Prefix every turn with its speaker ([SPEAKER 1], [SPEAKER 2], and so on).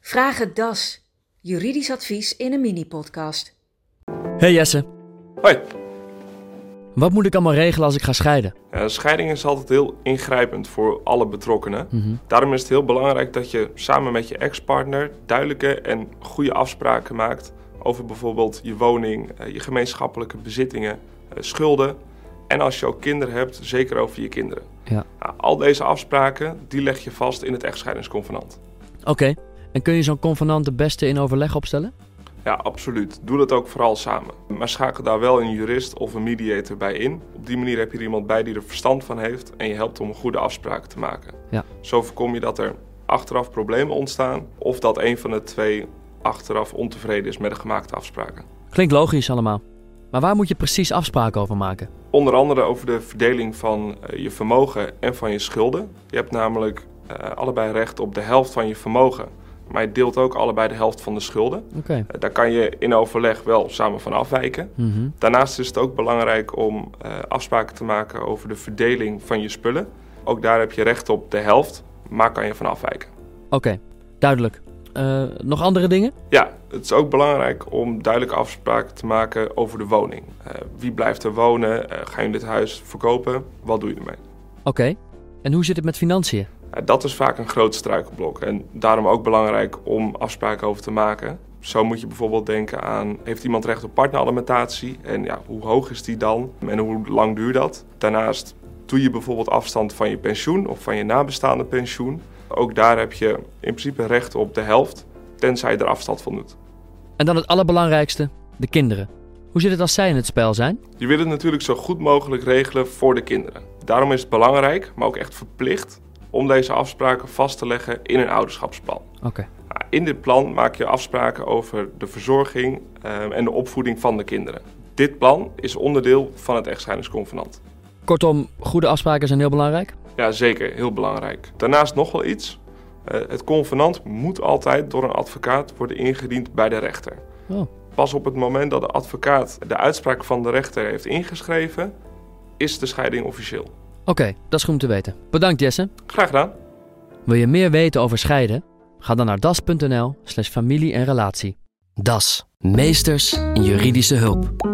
[SPEAKER 1] Vraag het DAS. Juridisch advies in een mini-podcast.
[SPEAKER 2] Hey Jesse,
[SPEAKER 3] Hoi.
[SPEAKER 2] wat moet ik allemaal regelen als ik ga scheiden?
[SPEAKER 3] Ja, Eh, scheiding is altijd heel ingrijpend voor alle betrokkenen. Daarom is het heel belangrijk dat je samen met je ex-partner duidelijke en goede afspraken maakt over bijvoorbeeld je woning, eh, je gemeenschappelijke bezittingen, eh, schulden en als je ook kinderen hebt, zeker over je kinderen.
[SPEAKER 2] Ja.
[SPEAKER 3] Nou, al deze afspraken die leg je vast in het echtscheidingsconvenant.
[SPEAKER 2] Oké, en kun je zo'n convenant het beste in overleg opstellen?
[SPEAKER 3] Ja, absoluut. Doe dat ook vooral samen. Maar schakel daar wel een jurist of een mediator bij in. Op die manier heb je er iemand bij die er verstand van heeft en je helpt om een goede afspraak te maken.
[SPEAKER 2] Ja.
[SPEAKER 3] Zo voorkom je dat er achteraf problemen ontstaan of dat een van de twee achteraf ontevreden is met de gemaakte afspraken.
[SPEAKER 2] Klinkt logisch allemaal. Maar waar moet je precies afspraken over maken?
[SPEAKER 3] Onder andere over de verdeling van eh, je vermogen en van je schulden. Je hebt namelijk eh, allebei recht op de helft van je vermogen, maar je deelt ook allebei de helft van de schulden.
[SPEAKER 2] Oké.
[SPEAKER 3] Eh, Daar kan je in overleg wel samen van afwijken.
[SPEAKER 2] Mhm.
[SPEAKER 3] Daarnaast is het ook belangrijk om eh, afspraken te maken over de verdeling van je spullen. Ook daar heb je recht op de helft, maar kan je van afwijken.
[SPEAKER 2] Oké, duidelijk. Eh, nog andere dingen?
[SPEAKER 3] Ja, het is ook belangrijk om duidelijke afspraken te maken over de woning. Eh, wie blijft er wonen? Eh, ga je dit huis verkopen? Wat doe je ermee?
[SPEAKER 2] Oké. En hoe zit het met financiën?
[SPEAKER 3] Eh, dat is vaak een groot struikelblok en daarom ook belangrijk om afspraken over te maken. Zo moet je bijvoorbeeld denken aan, heeft iemand recht op partneralimentatie? En ja, hoe hoog is die dan? En hoe lang duurt dat? Daarnaast doe je bijvoorbeeld afstand van je pensioen of van je nabestaande pensioen. Ook daar heb je in principe recht op de helft, tenzij je er afstand van doet.
[SPEAKER 2] En dan het allerbelangrijkste, de kinderen. Hoe zit het als zij in het spel zijn?
[SPEAKER 3] Je wil het natuurlijk zo goed mogelijk regelen voor de kinderen. Daarom is het belangrijk, maar ook echt verplicht, om deze afspraken vast te leggen in een ouderschapsplan.
[SPEAKER 2] Oké.
[SPEAKER 3] Nou, In dit plan maak je afspraken over de verzorging eh, en de opvoeding van de kinderen. Dit plan is onderdeel van het echtscheidingsconvenant.
[SPEAKER 2] Kortom, goede afspraken zijn heel belangrijk.
[SPEAKER 3] Ja, zeker, heel belangrijk. Daarnaast nog wel iets. Eh, het convenant moet altijd door een advocaat worden ingediend bij de rechter.
[SPEAKER 2] Oh.
[SPEAKER 3] Pas op het moment dat de advocaat de uitspraak van de rechter heeft ingeschreven, is de scheiding officieel.
[SPEAKER 2] Oké, dat is goed om te weten. Bedankt Jesse.
[SPEAKER 3] Graag gedaan.
[SPEAKER 2] Wil je meer weten over scheiden? Ga dan naar das.nl slash familie en relatie.
[SPEAKER 4] DAS. Meesters in juridische hulp.